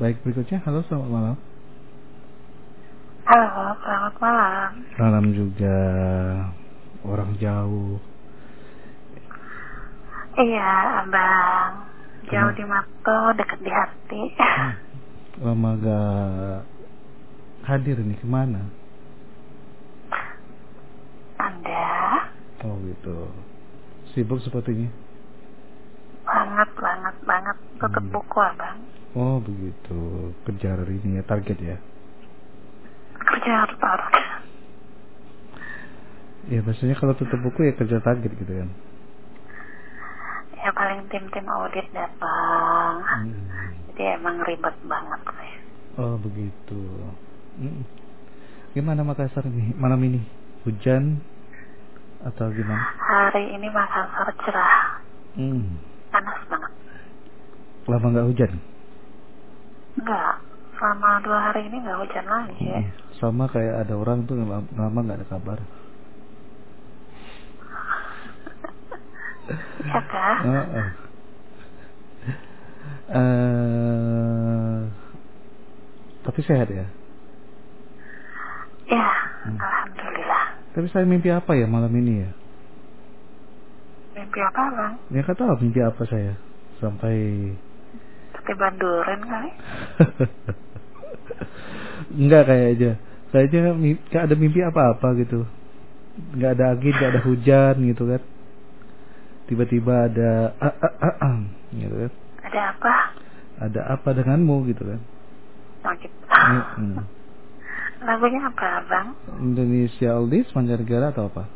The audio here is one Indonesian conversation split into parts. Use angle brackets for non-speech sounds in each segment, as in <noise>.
Baik, berikutnya. Halo, selamat malam. Halo, selamat malam. Malam juga. Orang jauh. Iya, abang. Jauh Kenapa? di mata, dekat di hati. Hmm. Lama gak hadir nih, kemana? <laughs> Anda Oh gitu. Sibuk sepertinya. banget, banget, banget tutup Hmm. buku, abang. Oh begitu. Kejar ini ya, target ya. Kerja harus harus. Ya biasanya kalau tutup buku ya kerja target gitu kan. Ya paling tim-tim audit datang. Hmm. Jadi emang ribet banget sih. Oh begitu. Hmm. Gimana Makassar nih malam ini? Hujan atau gimana? Hari ini Makassar cerah. Hmm. Panas banget. Lama nggak hujan? Enggak. Selama dua hari ini nggak hujan lagi. Hmm. Sama kayak ada orang tuh lama lama nggak ada kabar. Iya kah? Heeh. Eh, tapi sehat ya. Ya, Hmm. alhamdulillah. Tapi saya mimpi apa ya malam ini ya? Mimpi apa, Bang? Ya nggak tahu mimpi apa saya sampai Ketiban duren kali. nggak kayak aja kayaknya mi- nggak ada mimpi apa-apa gitu nggak ada angin nggak ada hujan gitu kan tiba-tiba ada ah, ah, ah, ah, gitu kan Ada apa? ada apa denganmu gitu kan Hmm. Oh, gitu. Mm-mm. <laughs> Lagunya apa, Bang? Indonesia oldies mancanegara atau apa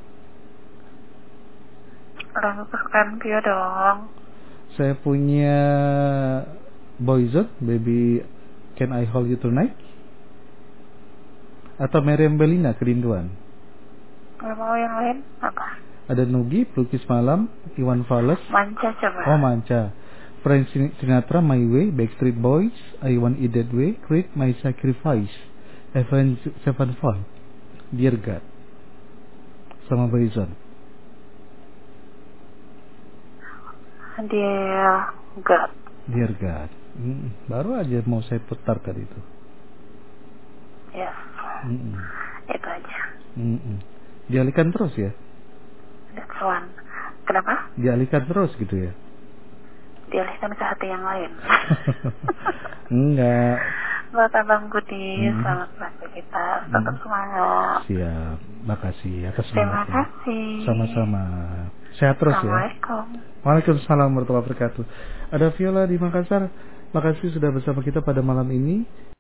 Lagu kesukaan Pio dong. saya punya Boyzone baby can I hold you tonight atau Meriam Belina kerinduan Nggak mau yang lain? Apa? ada Nugi pelukis malam Iwan Fals Manca coba. Oh manca. Frank Sin- Sinatra, My Way, Backstreet Boys, I Want It That Way, Creed, My Sacrifice, Evan Sevenfold, Dear God, sama Boyzone. Dia enggak. Dear God. Mm, baru aja mau saya putar tadi itu. Ya, Mm-mm. itu aja. Mm-mm. Dialihkan terus ya. That's one. Kenapa? Dialihkan terus gitu ya. Dialihkan ke hati yang <laughs> lain. Enggak. Buat Abang Budi, Hmm. selamat pagi kita. Tetap Hmm. semangat. Siap. Makasih ya, atas Terima semangatnya. kasih. Sama-sama. Sehat terus ya. Assalamualaikum. Waalaikumsalam warahmatullahi wabarakatuh. Ada Viola di Makassar. Makasih sudah bersama kita pada malam ini.